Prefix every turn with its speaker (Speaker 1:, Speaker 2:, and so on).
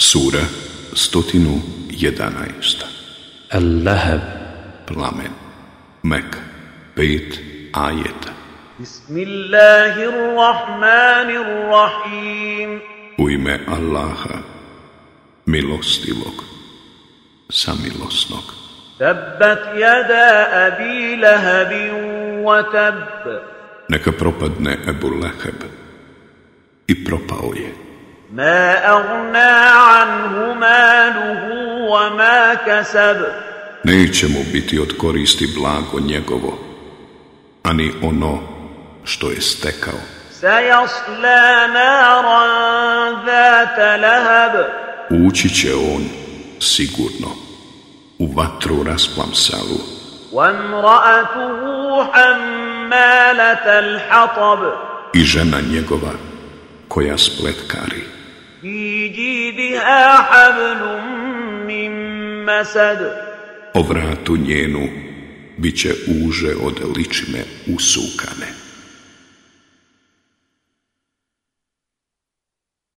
Speaker 1: Sura 111.
Speaker 2: اللهب
Speaker 1: Plamen. Mek. Pet ajeta.
Speaker 3: بسم الله الرحمن الرحيم
Speaker 1: U ime Allaha, milostivog, samilosnog.
Speaker 3: تبت يدا أبي لهب وتب
Speaker 1: Neka propadne Ebu Leheb. I propao je.
Speaker 3: ما أغنى عنه ماله وما كسب
Speaker 1: Neće mu biti od koristi blago njegovo, ani ono što je stekao.
Speaker 3: سيصلى نارا ذات لهب
Speaker 1: Ući će on sigurno u vatru rasplamsalu.
Speaker 3: وامرأته حمالة الحطب
Speaker 1: i žena njegova koja spletkari.
Speaker 3: في جيدها حبل من مسد
Speaker 1: O vratu njenu bit će uže od ličine usukane.